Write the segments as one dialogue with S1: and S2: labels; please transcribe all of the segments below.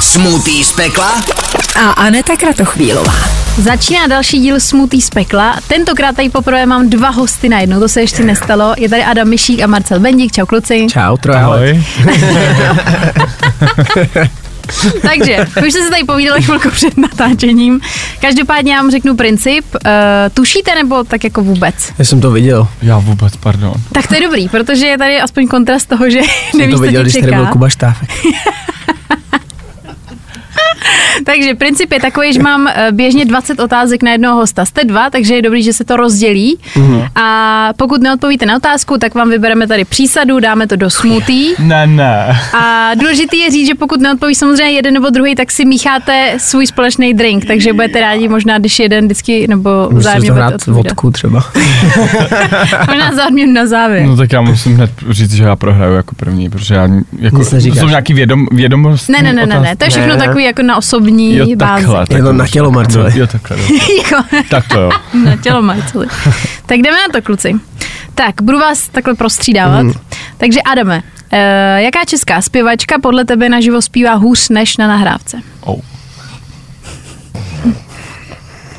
S1: Smutý z pekla?
S2: a Aneta Kratochvílová.
S3: Začíná další díl Smutý z pekla. Tentokrát tady poprvé mám dva hosty najednou, to se ještě nestalo. Je tady Adam Mišík a Marcel Bendík. Čau kluci.
S4: Čau, trojhale.
S3: Takže, už jsem se tady povídala chvilku před natáčením. Každopádně já vám řeknu princip. Uh, tušíte nebo tak jako vůbec?
S4: Já jsem to viděl.
S5: Já vůbec, pardon.
S3: Tak to je dobrý, protože je tady aspoň kontrast toho, že
S4: Jsem
S3: nevíš,
S4: to viděl,
S3: co tě
S4: když tady byl
S3: čeká.
S4: Kuba Štáfek.
S3: Takže princip je takový, že mám eh, běžně 20 otázek na jednoho hosta. Jste dva, takže je dobrý, že se to rozdělí.
S4: Mhm.
S3: Mm-hmm. A pokud neodpovíte na otázku, tak vám vybereme tady přísadu, dáme to do smutí.
S5: Ne, ne.
S3: A důležité je říct, že pokud neodpoví samozřejmě jeden nebo druhý, tak si mícháte svůj společný drink, takže budete rádi možná, když jeden vždycky nebo
S4: Musíš
S3: vzájemně
S4: to
S3: budete
S4: hrát
S3: odpovídat.
S4: vodku třeba.
S3: Možná záměr na závěr.
S4: Hmm.
S5: No tak já musím hned říct, že já prohraju jako první, protože já jako,
S4: Nic neříkáš.
S5: jsou nějaký vědom, vědomosti.
S3: Ne, ne, ne, ne, ne, to je všechno
S4: Ne.
S3: takový jako na osobní
S5: Jo,
S3: bázi.
S5: takhle.
S4: Je to
S5: tak
S4: na
S5: už-
S4: tělo, Marcele.
S5: Jo, takhle. jo.
S3: Jako-
S5: Tak to jo.
S3: Na tělo majceli. Tak jdeme na to, kluci. Tak, budu vás takhle prostřídávat.
S4: Hmm.
S3: Mm. Takže Adame, uh, jaká česká zpěvačka podle tebe naživo zpívá hůř než na nahrávce?
S5: Oh.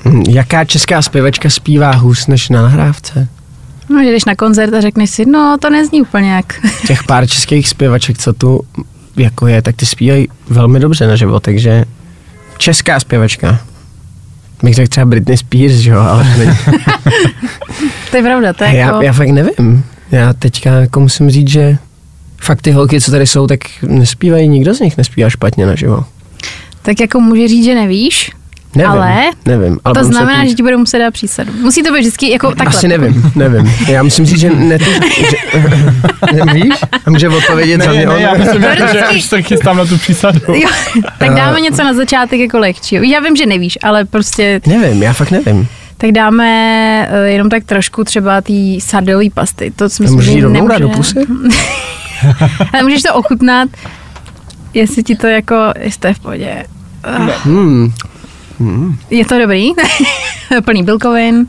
S4: Hm, Jaká česká zpěvačka zpívá hůř než na nahrávce?
S3: No, že jdeš na koncert a řekneš si, no to nezní úplně jak.
S4: Těch pár českých zpěvaček, co tu jako je, tak ty zpívají velmi dobře na život, takže česká zpěvačka. Bych řekl třeba Britney Spears, že jo, ale to není-
S3: To je pravda, to je jako...
S4: já, já fakt nevím. Já teďka jako musím říct, že fakt ty holky, co tady jsou, tak nespívají, nikdo z nich nespívá špatně na živo.
S3: Tak jako může říct, že nevíš,
S4: Nevím,
S3: Ale-
S4: nevím.
S3: to
S4: budu muset
S3: znamená,
S4: jít.
S3: že ti budou muset dát přísadu. Musí to být vždycky jako takhle.
S4: Asi nevím, nevím. Já musím říct, že ne, ty, že, nevíš? A může odpovědět za mě.
S5: Ne, ne,
S4: on.
S5: já myslím, jako, že
S3: Vždycky.
S5: už se chystám na tu přísadu.
S4: jako-
S3: Jo, tak
S4: Eh.
S3: dáme něco na začátek jako lehčího. Já vím, že nevíš, ale prostě
S4: Nevím, já fakt nevím.
S3: Tak dáme eh, jenom tak trošku třeba té sardelové pasty. To si myslím,
S4: Můžeš jí
S3: že
S4: rovnou
S3: nemůže.
S4: dát do pusy?
S3: Ale můžeš to ochutnat, jestli ti to jako, jestli to je v pohodě. Eh,
S4: Hmm,
S3: Je to dobrý? Plný bílkovin.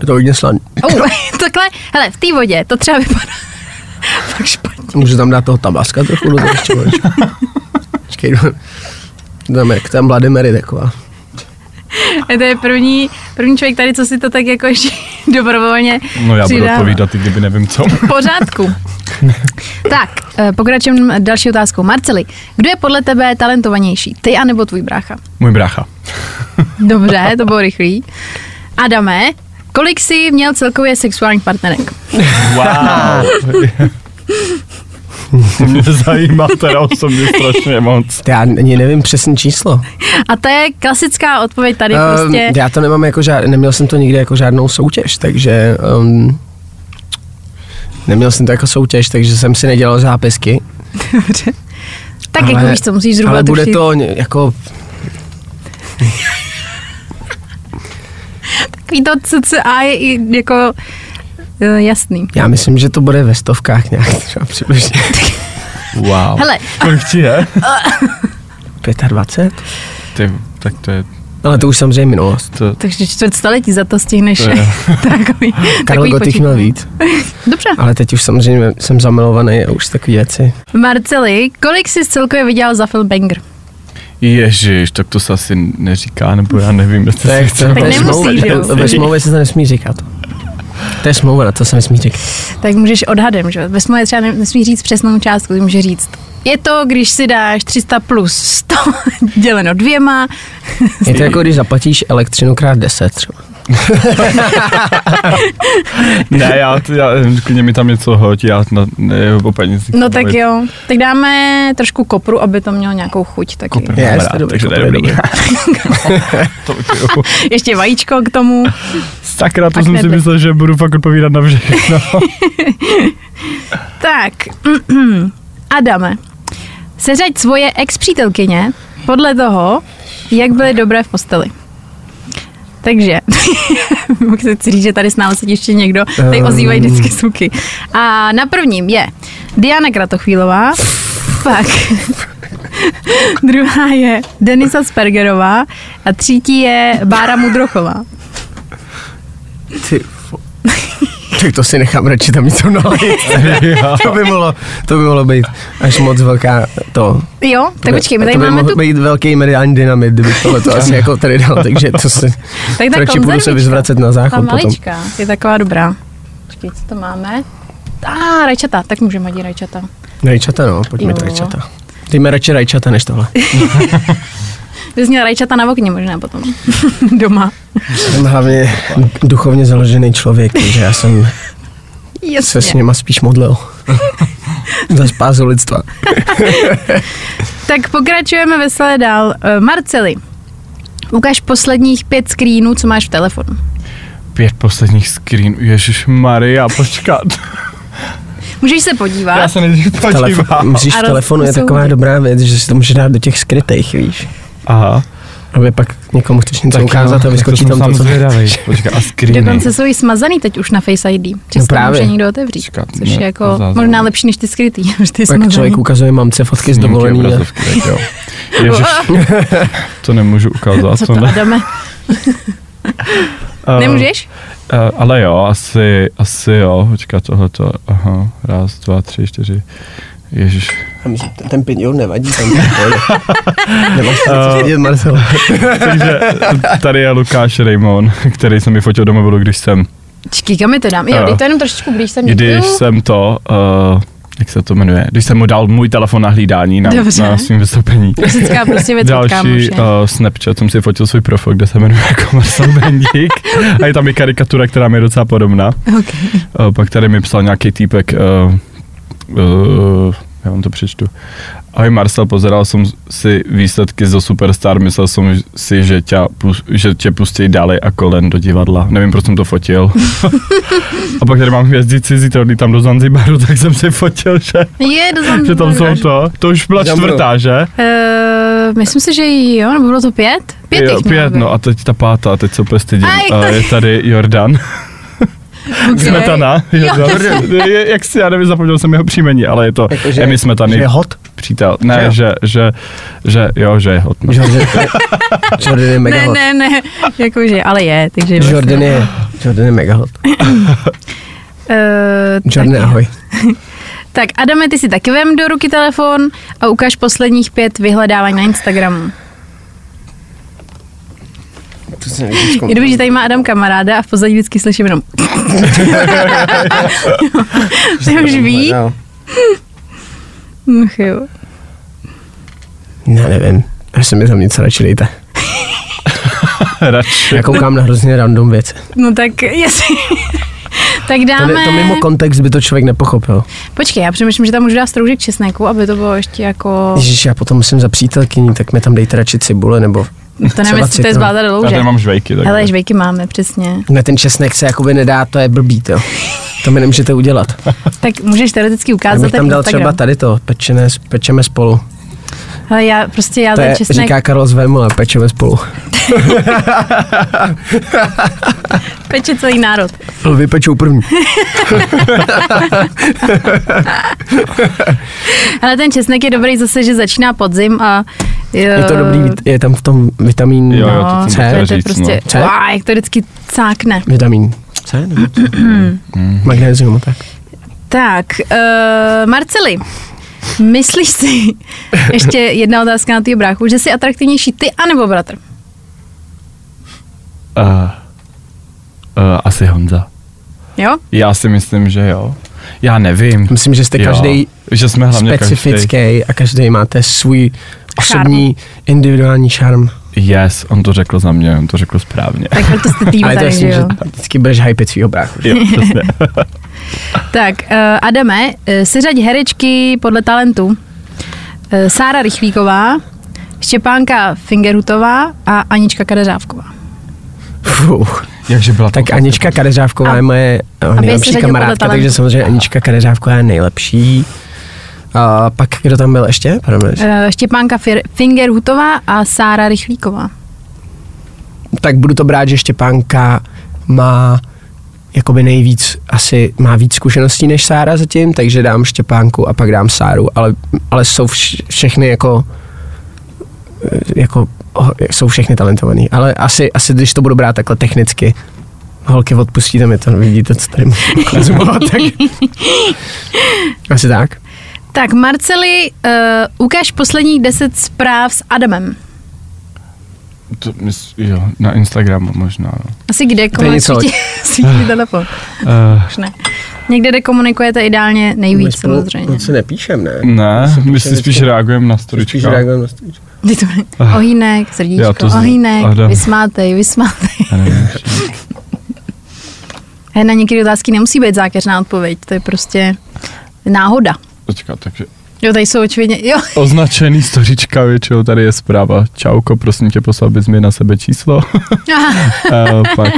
S4: je to hodně slaný.
S3: Oh, takhle, hele, v té vodě, to třeba vypadá fakt špatně.
S4: Můžu tam dát toho tabaska trochu no, do toho ještě. voličku. Počkej, jdu- dáme, jak tam Vladimir taková.
S3: To je první, první člověk tady, co si to tak jako ještě dobrovolně
S5: No já budu
S3: přidává.
S5: odpovídat, i kdyby nevím co.
S3: V pořádku. tak, eh, pokračujeme další otázkou. Marceli, kdo je podle tebe talentovanější? Ty anebo tvůj brácha?
S5: Můj brácha.
S3: Dobře, to bylo rychlý. Adame, kolik jsi měl celkově sexuálních partnerek?
S5: Wow. to mě zajímá teda osobně strašně moc.
S4: Já ani nevím přesné číslo.
S3: A to je klasická odpověď tady
S4: Ehm,
S3: prostě.
S4: Já to nemám jako žád, neměl jsem to nikdy jako žádnou soutěž, takže um, neměl jsem to jako soutěž, takže jsem si nedělal zápisky.
S3: Dobře. Tak jako víš, co musíš zhruba
S4: Ale bude
S3: tušit.
S4: to ně- jako
S3: Takový to CCA je i jako eh, jasný.
S4: Já myslím, že to bude ve stovkách nějak třeba přibližně.
S5: Wow.
S3: Hele,
S5: Kolik ti je?
S4: 25?
S5: Ty, tak to je,
S4: Ale to už samozřejmě minulost.
S5: to,
S3: takže čtvrt století za to stihneš.
S5: To je-
S3: takový,
S4: Karel
S3: takový
S4: Gotich
S3: počít.
S4: měl víc,
S3: Dobře.
S4: ale teď už samozřejmě jsem zamilovaný a už takový věci.
S3: Marceli, kolik jsi celkově viděl za film Banger?
S5: Ježíš, tak to se asi neříká, nebo já nevím, jestli
S4: To
S5: se
S4: je,
S5: chce.
S4: to je
S3: nemusíš,
S4: smlouva,
S3: že jo?
S4: to- ve smlouvě se to nesmí říkat. To je smlouva, na to se nesmí říkat.
S3: Tak můžeš odhadem, že? jo? Ve smlouvě třeba ne- nesmí říct přesnou částku, ty může říct. Je to, když si dáš 300 plus 100 děleno dvěma.
S4: Je to jako, když zaplatíš elektřinu krát 10 třeba.
S5: Ne, já, já, klidně mi tam něco hoď, já na, ne, o penězích.
S3: No tak
S5: bavit.
S3: jo. Tak dáme trošku kopru, aby to mělo nějakou chuť. Taky.
S5: Kopr,
S4: Je,
S5: mám
S4: jste
S5: rád,
S4: dobrý,
S5: takže
S4: to
S5: to je
S4: bude
S5: dobrý.
S4: dobrý.
S5: To- to jo.
S3: Ještě vajíčko k tomu.
S5: Sakra, to
S3: Tak
S5: jsem si
S3: nedej.
S5: myslel, že budu fakt odpovídat na všechno.
S3: Tak, Adame, seřaď svoje ex-přítelkyně podle toho, jak byly dobré v posteli. Takže, chci si říct, že tady s námi sedí ještě někdo, tady
S4: Ehm.
S3: ozývají vždycky suky. A na prvním je Diana Kratochvílová, pak druhá je Denisa Spergerová a třetí je Bára Mudrochová.
S4: Ty tak to si nechám radši tam něco nalít. to, by mohlo, to by mohlo být až moc velká to.
S3: Jo, tak
S4: By-
S3: počkej, my
S4: to
S3: tady
S4: by
S3: máme
S4: mohl
S3: tu...
S4: být velký mediální dynamit, kdyby tohle to asi jako tady dal, takže to si...
S3: Tak ta
S4: radši budu se
S3: konzervička.
S4: vyzvracet na
S3: Ta
S4: záchod potom.
S3: malička je taková dobrá. Počkej, co to máme? A ah, rajčata, tak můžeme hodit rajčata.
S4: Rajčata, no, pojďme
S3: Jo.
S4: to rajčata. Dejme radši rajčata než tohle.
S3: Bys měl rajčata na okně možná potom. Doma.
S4: Jsem hlavně duchovně založený člověk, takže já jsem se s
S3: Jasně.
S4: něma spíš modlil. Za spázu lidstva.
S3: Tak pokračujeme veselé dál. Eh, Marceli, ukaž posledních pět screenů, co máš v telefonu.
S5: Pět posledních screenů, Ježíš Maria, počkat.
S3: Můžeš se podívat.
S5: Já se nejdřív
S4: Telefon,
S5: podívám.
S4: myslíš,
S3: A
S4: v
S3: roz-
S4: telefonu je
S3: jsou-
S4: taková dobrá věc, že si to může dát do těch skrytých, víš.
S5: Aha. jako
S4: Aby pak někomu chceš něco ukázat a vyskočí tam to, co...
S5: zvědavý. Počkat, a screeny.
S3: Dokonce jsou i smazaný teď už na Face ID. Často no
S4: právě. no,
S3: může někdo otevřít,
S5: Počkat,
S3: což
S5: ne,
S3: je jako
S5: zázemí.
S3: možná lepší než ty skrytý, než ty
S4: Pak
S3: smazaný.
S4: člověk ukazuje mamce fotky z
S5: Snímky,
S4: dovolený. a-
S5: obrazovky, tak jo. Ježiš, to nemůžu ukázat.
S3: Co to,
S5: ne.
S3: Adame?
S4: No.
S5: Eh,
S3: Nemůžeš?
S5: eh, ale jo, asi, asi jo, počkat tohleto. Aha, raz, dva, tři, čtyři. Ježiš,
S4: Tam si- ten- Ten pinion nevadí, tam je v pohodě. Nemáš tam co vidět, Marcel.
S5: Takže tady je Lukáš Raymond, který jsem mi fotil do mobilu, když jsem,
S3: Čekej, kam je to dám? Jo,
S5: Jo.
S3: dej to jenom trošičku blíž sem.
S5: když
S3: Jo.
S5: jsem to, uh, jak se to jmenuje, když jsem mu dal můj telefon na hlídání na,
S3: Dobře.
S5: na svým vystoupení.
S3: Klasická prostě věc od
S5: Další
S3: kámoše.
S5: uh, Snapchat jsem si fotil svůj profil, kde se jmenuje jako Marcel Bendík a je tam i karikatura, která mi je docela podobná.
S3: Okay.
S5: Uh, pak tady mi psal nějaký týpek, uh, uh, já vám to přečtu. Ahoj Marcel, pozeral jsem si výsledky ze Superstar, myslel jsem si, že, tě, že tě pustí dále a kolen do divadla. Nevím, proč jsem to fotil. a pak tady mám hvězdy cizí, to tam do Zanzibaru, tak jsem si fotil, že,
S3: Je, to tam,
S5: eh, že tam jsou to. To už byla
S4: Zambrou.
S5: čtvrtá, že?
S3: Uh, myslím si, že jo, nebo bylo to pět? Pět,
S5: jo,
S3: jich
S5: pět
S3: máme.
S5: no a teď ta pátá, teď se úplně stydím.
S3: Aj,
S5: A
S3: to-
S5: je tady Jordan.
S3: Ok.
S5: Smetana. Jordan. Je- Jak si, já nevím, zapomněl jsem jeho příjmení, ale je to
S4: Jakože-
S5: Emi Smetany.
S4: Jako, Že je hot?
S5: přítel. Ne,
S4: Jo.
S5: že, že, že, jo, že je hot. No.
S4: Jordan, Jordan je mega
S3: Ne,
S4: hot.
S3: ne, ne, jakože, ale je, vlastně- takže...
S4: Jordan je, Jordan je mega hot.
S3: Uh,
S4: Jordan, ahoj.
S3: Tak Adame, ty si taky vem do ruky telefon a ukáž posledních pět vyhledávání na Instagramu.
S4: To se nevíš,
S3: Je dobrý, že tady má Adam kamaráda a v pozadí vždycky slyším jenom... Ty už ví?
S4: no.
S3: Ach jo.
S4: Já nevím, až se mi tam nic radši dejte.
S5: Radši.
S4: Já koukám na hrozně random věci.
S3: No tak jestli... tak
S4: To,
S3: dáme...
S4: ne, to mimo kontext by to člověk nepochopil.
S3: Počkej, já přemýšlím, že tam můžu dát stroužek česneku, aby to bylo ještě jako...
S4: Ježíš, já potom musím za přítelkyní, tak mi tam dejte radši cibule, nebo
S3: To nevím,
S4: třeba
S3: jestli to je
S4: citron.
S3: zbláta do
S5: Já
S3: louže.
S5: tady mám žvejky. Tak
S3: Hele, žvejky máme, přesně.
S4: ne, ten česnek se jakoby nedá, to je blbý, to. To mi nemůžete udělat.
S3: Tak můžeš teoreticky
S4: Já
S3: ukázat
S4: bych
S3: ten
S4: tam dal třeba
S3: Instagram.
S4: tady to, pečené, pečeme spolu.
S3: Hele, já prostě já
S4: To
S3: ten
S4: je,
S3: česnek...
S4: říká Karol z Vémola, pečeme spolu.
S3: Peče celý národ.
S4: Lvy pečou první.
S3: Ale ten česnek je dobrý zase, že začíná podzim a... eh,
S4: Je to dobrý, vit- je tam v tom vitamín,
S5: Jo, jo,
S3: No,
S5: to
S4: C.
S5: jsem chtěl
S3: to je
S5: říct.
S3: prostě,
S4: no. Co?
S3: Á, jak to vždycky cákne.
S4: vitamín C, nebo co?
S5: Mhm.
S4: magnézium, tak.
S3: Tak, uh, Marceli, myslíš si, ještě jedna otázka na tvýho bráchu, že jsi atraktivnější ty anebo bratr?
S5: No. Uh, uh, asi Honza.
S3: Jo?
S5: Já si myslím, že jo. Já nevím.
S4: Myslím, že jste
S5: Jo.
S4: každý
S5: že jsme hlavně
S4: specifický a každý máte svůj osobní, individuální šarm.
S5: Každý. Yes, on to řekl za mě, on to řekl správně.
S3: Tak proto jste tým
S4: Ale to
S3: tady, že
S4: jasný, že
S3: jo?
S4: vždycky budeš hypit svýho bráchu.
S5: jo, přesně.
S3: Tak, uh, Adame, eh, seřaď herečky podle talentu. Uh, Sára Rychlíková, Štěpánka Fingerhutová a Anička Kadeřávková.
S4: Fuh.
S5: Jakže byla
S4: Tak
S5: to-
S4: Anička Kadeřávková
S3: A-
S4: je moje eh,
S3: se
S4: nejlepší
S3: řadil podle
S4: kamarádka,
S3: talentu.
S4: takže samozřejmě Anička Kadeřávková je nejlepší. A pak kdo tam byl ještě? Pardon,
S3: Uh, Štěpánka Fir- Fingerhutová a Sára Rychlíková.
S4: tak budu to brát, že Štěpánka má jakoby nejvíc, asi má víc zkušeností než Sára zatím, takže dám Štěpánku a pak dám Sáru, ale, ale jsou vš, všechny jako eh, jako oh, jsou všechny talentovaný, ale asi, asi když to budu brát takhle technicky, holky, odpustíte mi to, vidíte, co tady můžu ukazovat. tak. Asi tak.
S3: Tak Marceli, uh, ukáž posledních 10 zpráv s Adamem.
S5: To, mys- jo, na Instagramu možná. No.
S3: Asi kde komu
S4: něco-
S3: svítí, svítí telefon.
S5: Uh,
S3: Už ne. Někde, kde komunikujete ideálně nejvíc, samozřejmě.
S4: Moc se nepíšem, ne?
S5: ne, my si
S4: vždycky-
S5: spíš reagujeme na
S4: Spíš
S5: storička.
S4: reagujeme na storíčka.
S3: Ty to, ohýnek,
S5: Já
S3: srdíčko,
S5: Eh. to z-
S3: ohýnek,
S5: Adam.
S3: vysmátej, vysmátej.
S5: Já nevím, že-
S3: Hej, na některé otázky nemusí být zákeřná odpověď, to je prostě náhoda.
S5: Počkat, takže
S3: Jo, tady jsou očividně, jo,
S5: označený storička většinou tady je zpráva. Čauko, prosím tě, poslal bys mi na sebe číslo. uh, pak,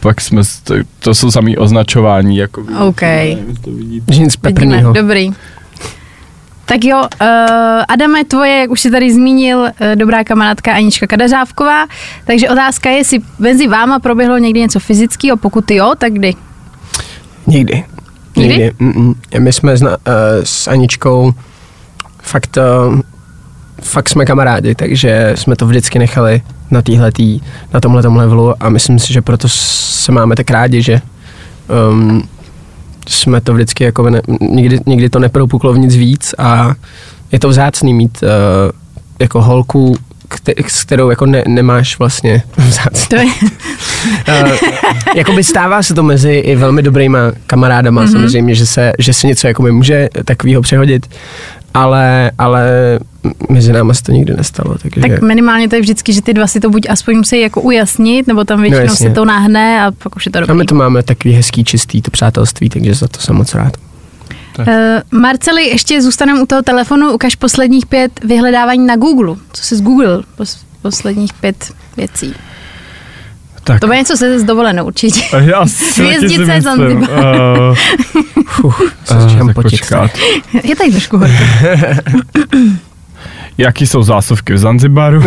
S5: pak jsme, s- to, to jsou samý označování, jako
S3: OK.
S5: Nevím, to vidíte.
S4: Že nic
S3: vidíme,
S4: peprnýho.
S3: dobrý. Tak jo, uh, Adame, tvoje, jak už si tady zmínil, uh, dobrá kamarádka Anička Kadařávková, takže otázka je, jestli mezi váma proběhlo někdy něco fyzického, pokud jo, tak kdy?
S4: Nikdy.
S3: Nikdy?
S4: Mm, mm. My jsme zna, uh, s Aničkou fakt, uh, fakt jsme kamarádi, takže jsme to vždycky nechali na týhletý, na tomhle levelu a myslím si, že proto se máme tak rádi, že um, jsme to vždycky jako ne, nikdy, nikdy to nepropuklo v nic víc a je to vzácný mít uh, jako holku, kte, s kterou jako ne, nemáš vlastně vzácný.
S3: To je,
S4: Eh, jakoby stává se to mezi i velmi dobrýma kamarádama,
S3: Mhm.
S4: mm-hmm. samozřejmě, že se, že se něco jakoby může takového přehodit, ale, ale mezi náma se to nikdy nestalo, takže...
S3: tak minimálně to je vždycky, že ty dva si to buď aspoň musí jako ujasnit, nebo tam většinou
S4: No, jasně.
S3: se to nahne a pak už je to
S4: a
S3: dobrý.
S4: my to máme takový hezký, čistý to přátelství, takže za to jsem moc rád.
S3: Eh, Marceli, ještě zůstaneme u toho telefonu, ukaž posledních pět vyhledávání na Google. Co jsi z Google? Pos- posledních pět věcí.
S5: Tak.
S3: To bude něco se s dovolenou určitě.
S5: Já si taky
S3: Hvězdice
S5: si myslím,
S3: Zanzibar.
S5: eh,
S4: Se
S5: eh,
S4: začínám
S5: tak
S4: potit.
S5: počkat.
S3: Je tady trošku horko.
S5: Jaký jsou zásuvky v Zanzibaru?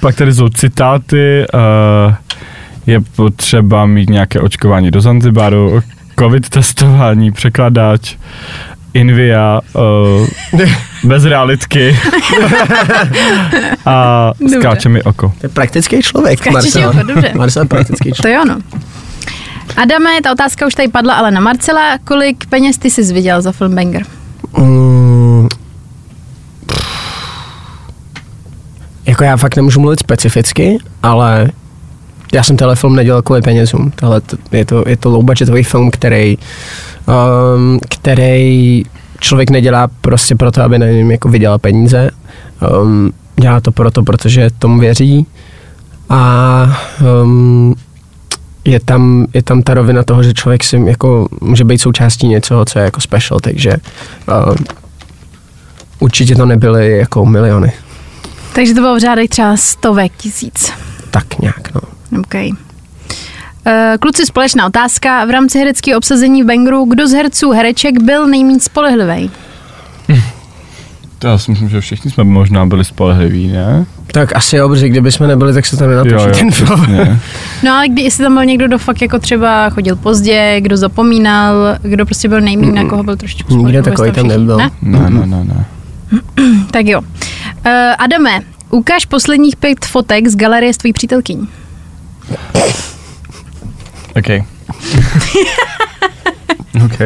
S5: Pak tady jsou citáty. eh, je potřeba mít nějaké očkování do Zanzibaru, covid testování, překladáč, Invia, eh, bez realitky a
S3: Dobře.
S5: skáče mi oko.
S4: To je praktický člověk,
S3: Skáčeš
S4: Marcel.
S3: jako, dobře.
S4: Marcel je praktický
S3: To
S4: člověk.
S3: je ono. Adame, ta otázka už tady padla, ale na Marcela. Kolik peněz ty jsi viděl za film Banger?
S4: Mm, pff. jako já fakt nemůžu mluvit specificky, ale já jsem tenhle film nedělal kvůli penězům. Tohle t- je to, je to low budgetový film, který, um, který člověk nedělá prostě proto, aby na něm jako vydělal peníze. Um, dělá to proto, protože tomu věří. A um, je tam, je tam ta rovina toho, že člověk si jako může být součástí něčeho, co je jako special, takže uh, určitě to nebyly jako miliony.
S3: Takže to bylo v řádech třeba stovek tisíc.
S4: Tak nějak, no.
S3: OK. Eh, Kluci, společná otázka. V rámci hereckého obsazení v Bangeru, kdo z herců hereček byl nejméně spolehlivý?
S5: To já si myslím, že všichni jsme možná byli spolehliví, ne?
S4: Tak asi jo, protože kdyby jsme nebyli, tak se tam nenatočí ten film.
S5: přesně.
S3: No ale kdy, jestli tam byl někdo, kdo fakt jako třeba chodil pozdě, kdo zapomínal, kdo prostě byl nejmín, na koho byl trošičku
S4: Nikdo
S3: spolehlivý,
S4: takový
S3: jste
S4: tam
S3: všichni,
S4: nebyl.
S3: Ne?
S5: Ne, ne, ne, ne.
S3: Tak jo. Uh, Adame, ukáž posledních pět fotek z galerie s tvojí přítelkyní.
S5: OK. OK.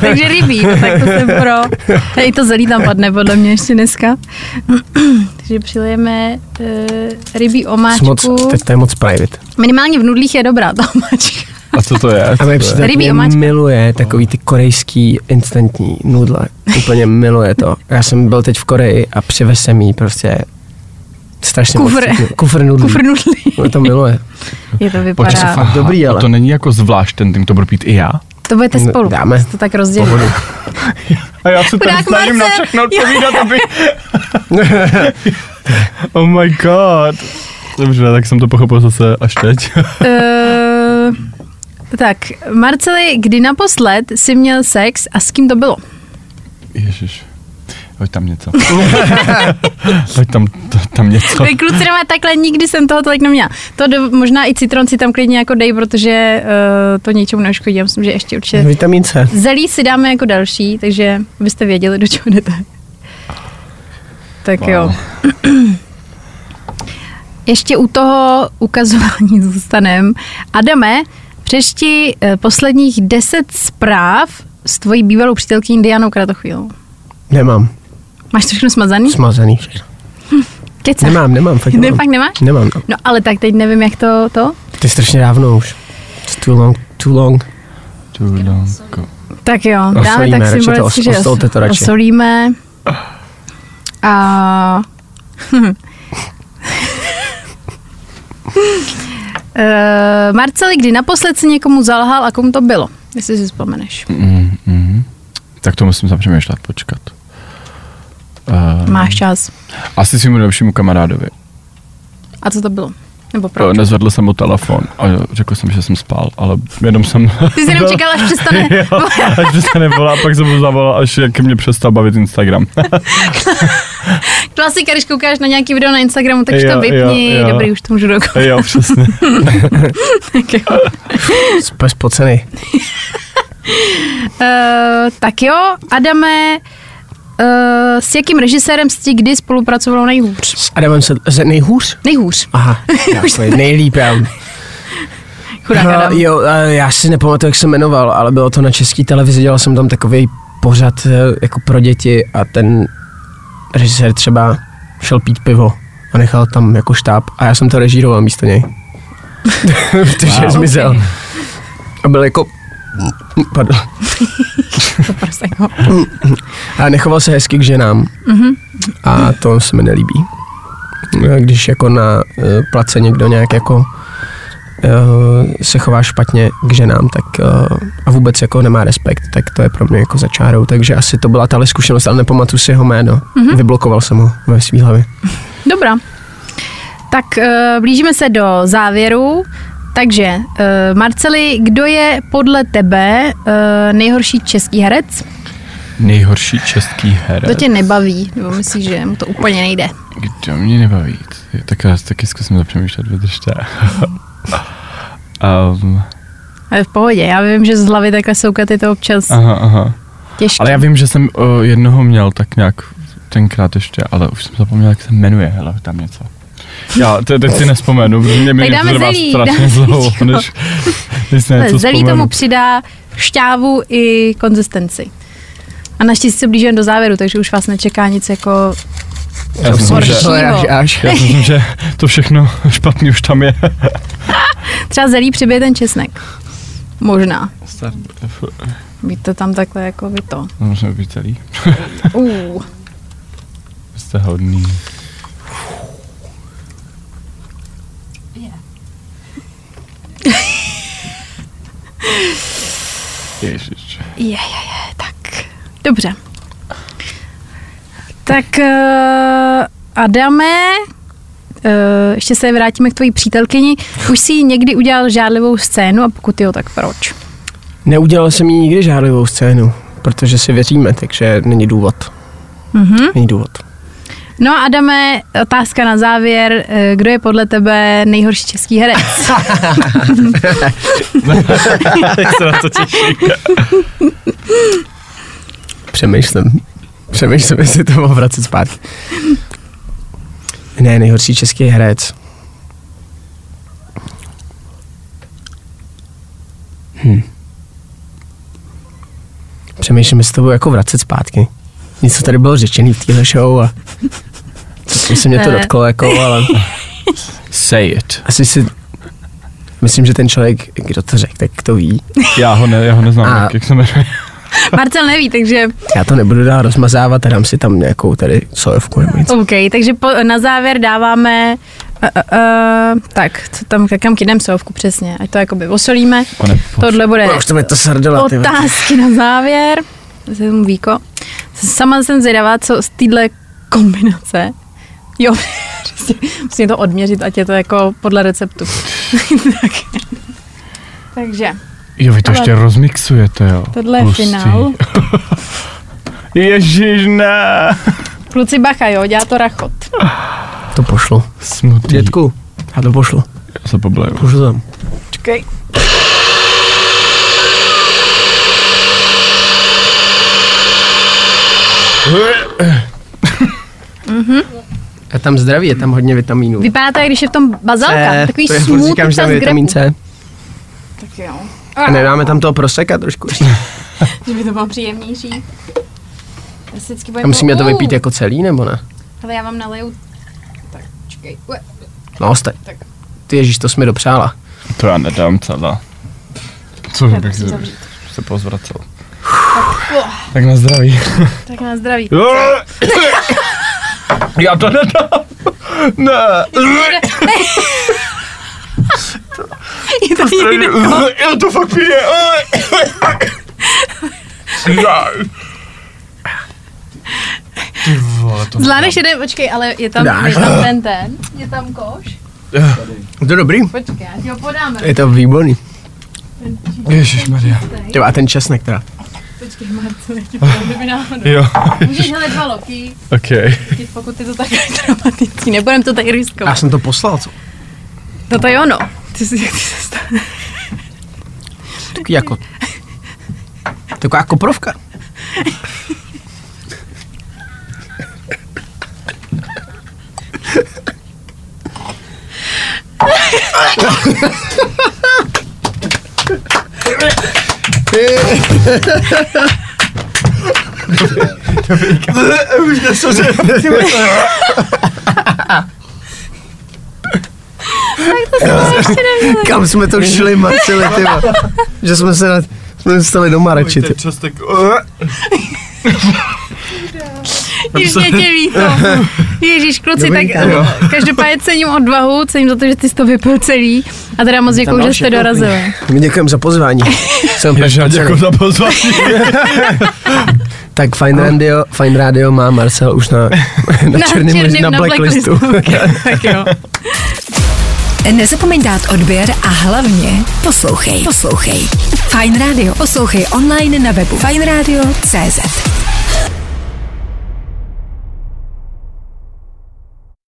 S3: Takže rybí, no tak to jsem pro. Tady to zelí tam padne podle mě ještě dneska. Takže přilijeme uh, rybí
S4: To je Moc,
S3: omáčku.
S4: teď to je moc private.
S3: Minimálně v nudlích je dobrá ta omáčka.
S5: A co to je?
S4: A
S5: Co to
S4: moje
S5: je?
S3: Rybí
S4: přítelkyně
S3: omáčka.
S4: miluje takový ty korejský instantní nudle. Úplně miluje to. Já jsem byl teď v Koreji a přivez jsem jí prostě strašně moc
S3: Kufr.
S4: cítím. Kufr nudlí.
S3: Kufr nudlí.
S4: Ona to miluje.
S3: Je to
S5: Počkej,
S3: vypadá.
S4: fakt dobrý,
S5: a
S4: ale.
S5: to není jako zvlášť ten tým, to budu pít i já?
S3: To budete
S4: No,
S3: spolu.
S4: dáme.
S3: To tak rozdělit.
S4: Pohodu.
S5: A já se
S3: Chudák Marcel.
S5: odpovídat, aby... oh my god. Dobře, tak jsem to pochopil zase až teď.
S3: Eh, tak, Marceli, kdy naposled jsi měl sex a s kým to bylo?
S5: Ježiš. Hoď tam něco. Hoď tam, t- tam něco.
S3: Vy kluci nemá takhle, nikdy jsem toho tolik neměla. To do, možná i citron si tam klidně jako dej, protože uh, to něčemu neškodí. Já myslím, že ještě určitě.
S4: Vitamin C.
S3: Zelí si dáme jako další, takže byste věděli, do čeho jdete. Tak
S5: Wow.
S3: jo. ještě u toho ukazování zůstanem. Adame, přešti eh, posledních deset zpráv s tvojí bývalou přítelkyní Dianou Kratochvílovou.
S4: Nemám.
S3: Máš to všechno smazaný?
S4: Smazaný všechno.
S3: Kecáš.
S4: Nemám, nemám, fakt
S3: Hm? Ne,
S4: nemám.
S3: fakt nemáš?
S4: Nemám, no.
S3: No ale tak teď nevím, jak to, to.
S4: To je strašně dávno už. It's too long, too long.
S5: Too long. ago.
S3: Tak jo,
S4: Osolíme,
S3: dáme tak
S4: radši to
S3: symbolicky,
S4: os-
S3: že
S4: osolte to
S3: os-
S4: radši.
S3: osolíme. A... Eh, Marceli, kdy naposled si někomu zalhal a komu to bylo? Jestli si vzpomeneš.
S5: Mm, mm. Tak to musím zapřemýšlet, počkat. Uh,
S4: No.
S3: Máš čas.
S5: asi svým nejlepšímu kamarádovi.
S3: A co to bylo? Nebo proč?
S5: Proč? Nezvedl jsem mu telefon a řekl jsem, že jsem spal, ale jenom jsem...
S3: Ty jsi
S4: No.
S3: jenom čekal, až přestane.
S5: Jo, až se nevolá, pak jsem mu zavolal, až jak mě přestal bavit Instagram.
S3: Klasika, když koukáš na nějaký video na Instagramu, tak už
S5: Jo,
S3: to
S5: jo,
S3: vypni.
S5: jo.
S3: Dobrý, už to můžu dokončit.
S5: jo, přesně.
S4: Jsme spocený.
S3: Eh, tak jo, Adame, eh, s jakým režisérem jsi kdy spolupracoval nejhůř?
S4: S Adamem se, se nejhůř?
S3: Nejhůř.
S4: Aha, já, nejlíp, já.
S3: Chudák
S4: No,
S3: Adam.
S4: jo, eh, já si nepamatuju, jak se jmenoval, ale bylo to na české televizi, dělal jsem tam takový pořad eh, jako pro děti a ten režisér třeba šel pít pivo a nechal tam jako štáb a já jsem to režíroval místo něj. Protože
S5: Wow.
S4: wow. zmizel.
S3: Ok.
S4: A byl jako... Pardon.
S3: To prostě jako-
S4: A nechoval se hezky k ženám.
S3: Mhm.
S4: A to se mi nelíbí. Eh, Když jako na eh, place někdo nějak jako eh, se chová špatně k ženám, tak eh, a vůbec jako nemá respekt, tak to je pro mě jako začárou. Takže asi to byla tahle zkušenost, ale nepamatuju si jeho jméno.
S3: Mhm.
S4: Mm-hmm. Vyblokoval jsem ho ve svý hlavě.
S3: Dobrá. Tak eh, blížíme se do závěru. Takže, eh, Marceli, kdo je podle tebe eh, nejhorší český herec?
S5: Nejhorší český
S3: To
S5: herec.
S3: tě nebaví, nebo myslíš, že mu to úplně nejde?
S5: Kdo mě nebaví? Tak já taky zkusím zapřemýšlet, vydržte. um,
S3: Ale v pohodě, já vím, že z hlavy takhle soukat je to občas
S5: aha, aha.
S3: těžké.
S5: Ale já vím, že jsem uh, jednoho měl tak nějak tenkrát ještě, ale už jsem zapomněl, jak se jmenuje, hele, tam něco. Já te, teď si nespomenu, protože mě mě
S3: dáme
S5: to trvá
S3: zelí,
S5: strašně
S3: dáme
S5: dlouho,
S3: zelíčko.
S5: než, než se
S3: Ale
S5: něco
S3: zelí
S5: vzpomenu.
S3: tomu přidá šťávu i konzistenci. A naštěstí se blížíme do závěru, takže už vás nečeká nic jako...
S5: Já si myslím, že,
S3: horší.
S4: to je až, až.
S5: já si myslím, že to všechno špatný už tam je.
S3: Třeba zelí přibije ten česnek. Možná. Být to tam takhle jako vy to.
S5: No, Můžeme být celý.
S3: Uh.
S5: Vy Jste hodný. Ježiš.
S3: Je, je, je, tak. Dobře. Tak eh, Adame, eh, ještě se vrátíme k tvojí přítelkyni. Už si někdy udělal žádlivou scénu a pokud jo, tak proč?
S4: Neudělal jsem jí nikdy žádlivou scénu, protože si věříme, takže není důvod.
S3: Mhm.
S4: Není důvod.
S3: No a Adame, otázka na závěr. Eh, Kdo je podle tebe nejhorší český herec?
S5: Tak se na to těším.
S4: Přemýšlím. Přemýšlím, jestli to mám vracet zpátky. Ne, nejhorší český herec. Hm. Přemýšlím, jestli to budu jako vracet zpátky. Něco tady bylo řečený v téhle show a co se mě to
S3: Ne.
S4: dotklo, jako, ale
S5: Say it.
S4: asi si Myslím, že ten člověk, kdo to řekl, tak to ví.
S5: Já ho, ne, já ho neznám,
S4: A-
S5: jak, jak se jmenuje.
S3: Marcel neví, takže
S4: Já to nebudu dál rozmazávat a dám si tam nějakou tady sojovku nebo něco.
S3: OK, takže po, na závěr dáváme uh, uh, uh, tak, co tam, kam kydem sovku přesně, ať to jakoby osolíme.
S5: Pane,
S3: Tohle bude
S4: Už to mi to srdela, ty vole.
S3: otázky na závěr. Zase mu víko. Sama jsem zvědavá, co z téhle kombinace. Jo, prostě musím to odměřit, ať je to jako podle receptu. tak. Takže,
S5: Jo, vy to
S3: Ale-
S5: ještě rozmixujete, jo.
S3: tohle je finál.
S5: Ježiš, ne.
S3: Kluci bacha, jo, dělá to rachot.
S4: To pošlu.
S5: Smutný.
S4: Dětku, já to pošlu.
S5: Já se pobleju.
S4: Pošlu tam.
S3: Čekej.
S4: Je tam zdraví, je tam hodně vitamínů.
S3: Vypadá to, jak když je v tom bazalka.
S4: C,
S3: Takový
S4: Eh, to je, furt
S3: smut,
S4: říkám, že tam je vitamin C.
S3: Tak jo.
S4: A nedáme tam toho proseka trošku. ještě?
S3: Že by to bylo příjemnější. Já si vždycky
S4: A
S3: budem-
S4: musíme to
S3: Uh,
S4: vypít jako celý, nebo ne?
S3: Hele, já vám naleju. Tak, čekej. Ue,
S4: No, jste.
S3: Tak.
S4: Ty ježíš, to jsi mi dopřála.
S5: To já nedám celá. Co
S3: já
S5: bych
S3: musím
S5: se,
S3: zavřít.
S5: se pozvracel. Tak na zdraví.
S3: Tak na zdraví.
S5: Já to nedám. Ne.
S3: Je to někde.
S5: Já to fakt pije. Ty vole, to
S3: Zvládneš jeden, počkej, ale je tam,
S4: Dáš.
S3: je tam ten ten. Je tam koš.
S4: Je to dobrý?
S3: Počkej, já ti ho podám.
S4: Je to výborný.
S5: Ježíš Maria.
S4: Ty a ten česnek teda.
S3: Počkej, Marco, já ti podám, kdyby náhodou.
S5: Jo,
S3: Můžeš hele dva loky,
S5: ok.
S3: chytit, pokud je to tak dramatický. Nebudem to tady
S4: Já
S3: riskovat.
S4: jsem to poslal, co?
S3: No to je ono. Ty jsi, ty jsi stane.
S4: Takový jako... Taková jako koprovka. Už jsem se...
S3: Ještě neměla.
S4: Kam jsme to šli, Marceli, ty vole? Že jsme se na, jsme stali doma radši, ty.
S5: čestek.
S3: Ještě tě ví to. Ježíš, kluci,
S4: Dobrý,
S3: tak eh,
S4: jo.
S3: každopádně cením odvahu, cením za to, že ty jsi to vypil celý. A teda moc děkuju, že jste dorazili.
S4: My děkujeme za pozvání. Jsem
S5: Ježíš, já
S4: Petr
S5: děkuji
S4: Kucený.
S5: za pozvání.
S4: Tak Fine Radio, Fine Radio má Marcel už na, na, na černém na, na, blacklistu.
S3: blacklistu. tak jo.
S2: Nezapomeň dát odběr a hlavně poslouchej. Poslouchej. Fine Radio. Poslouchej online na webu fineradio.cz.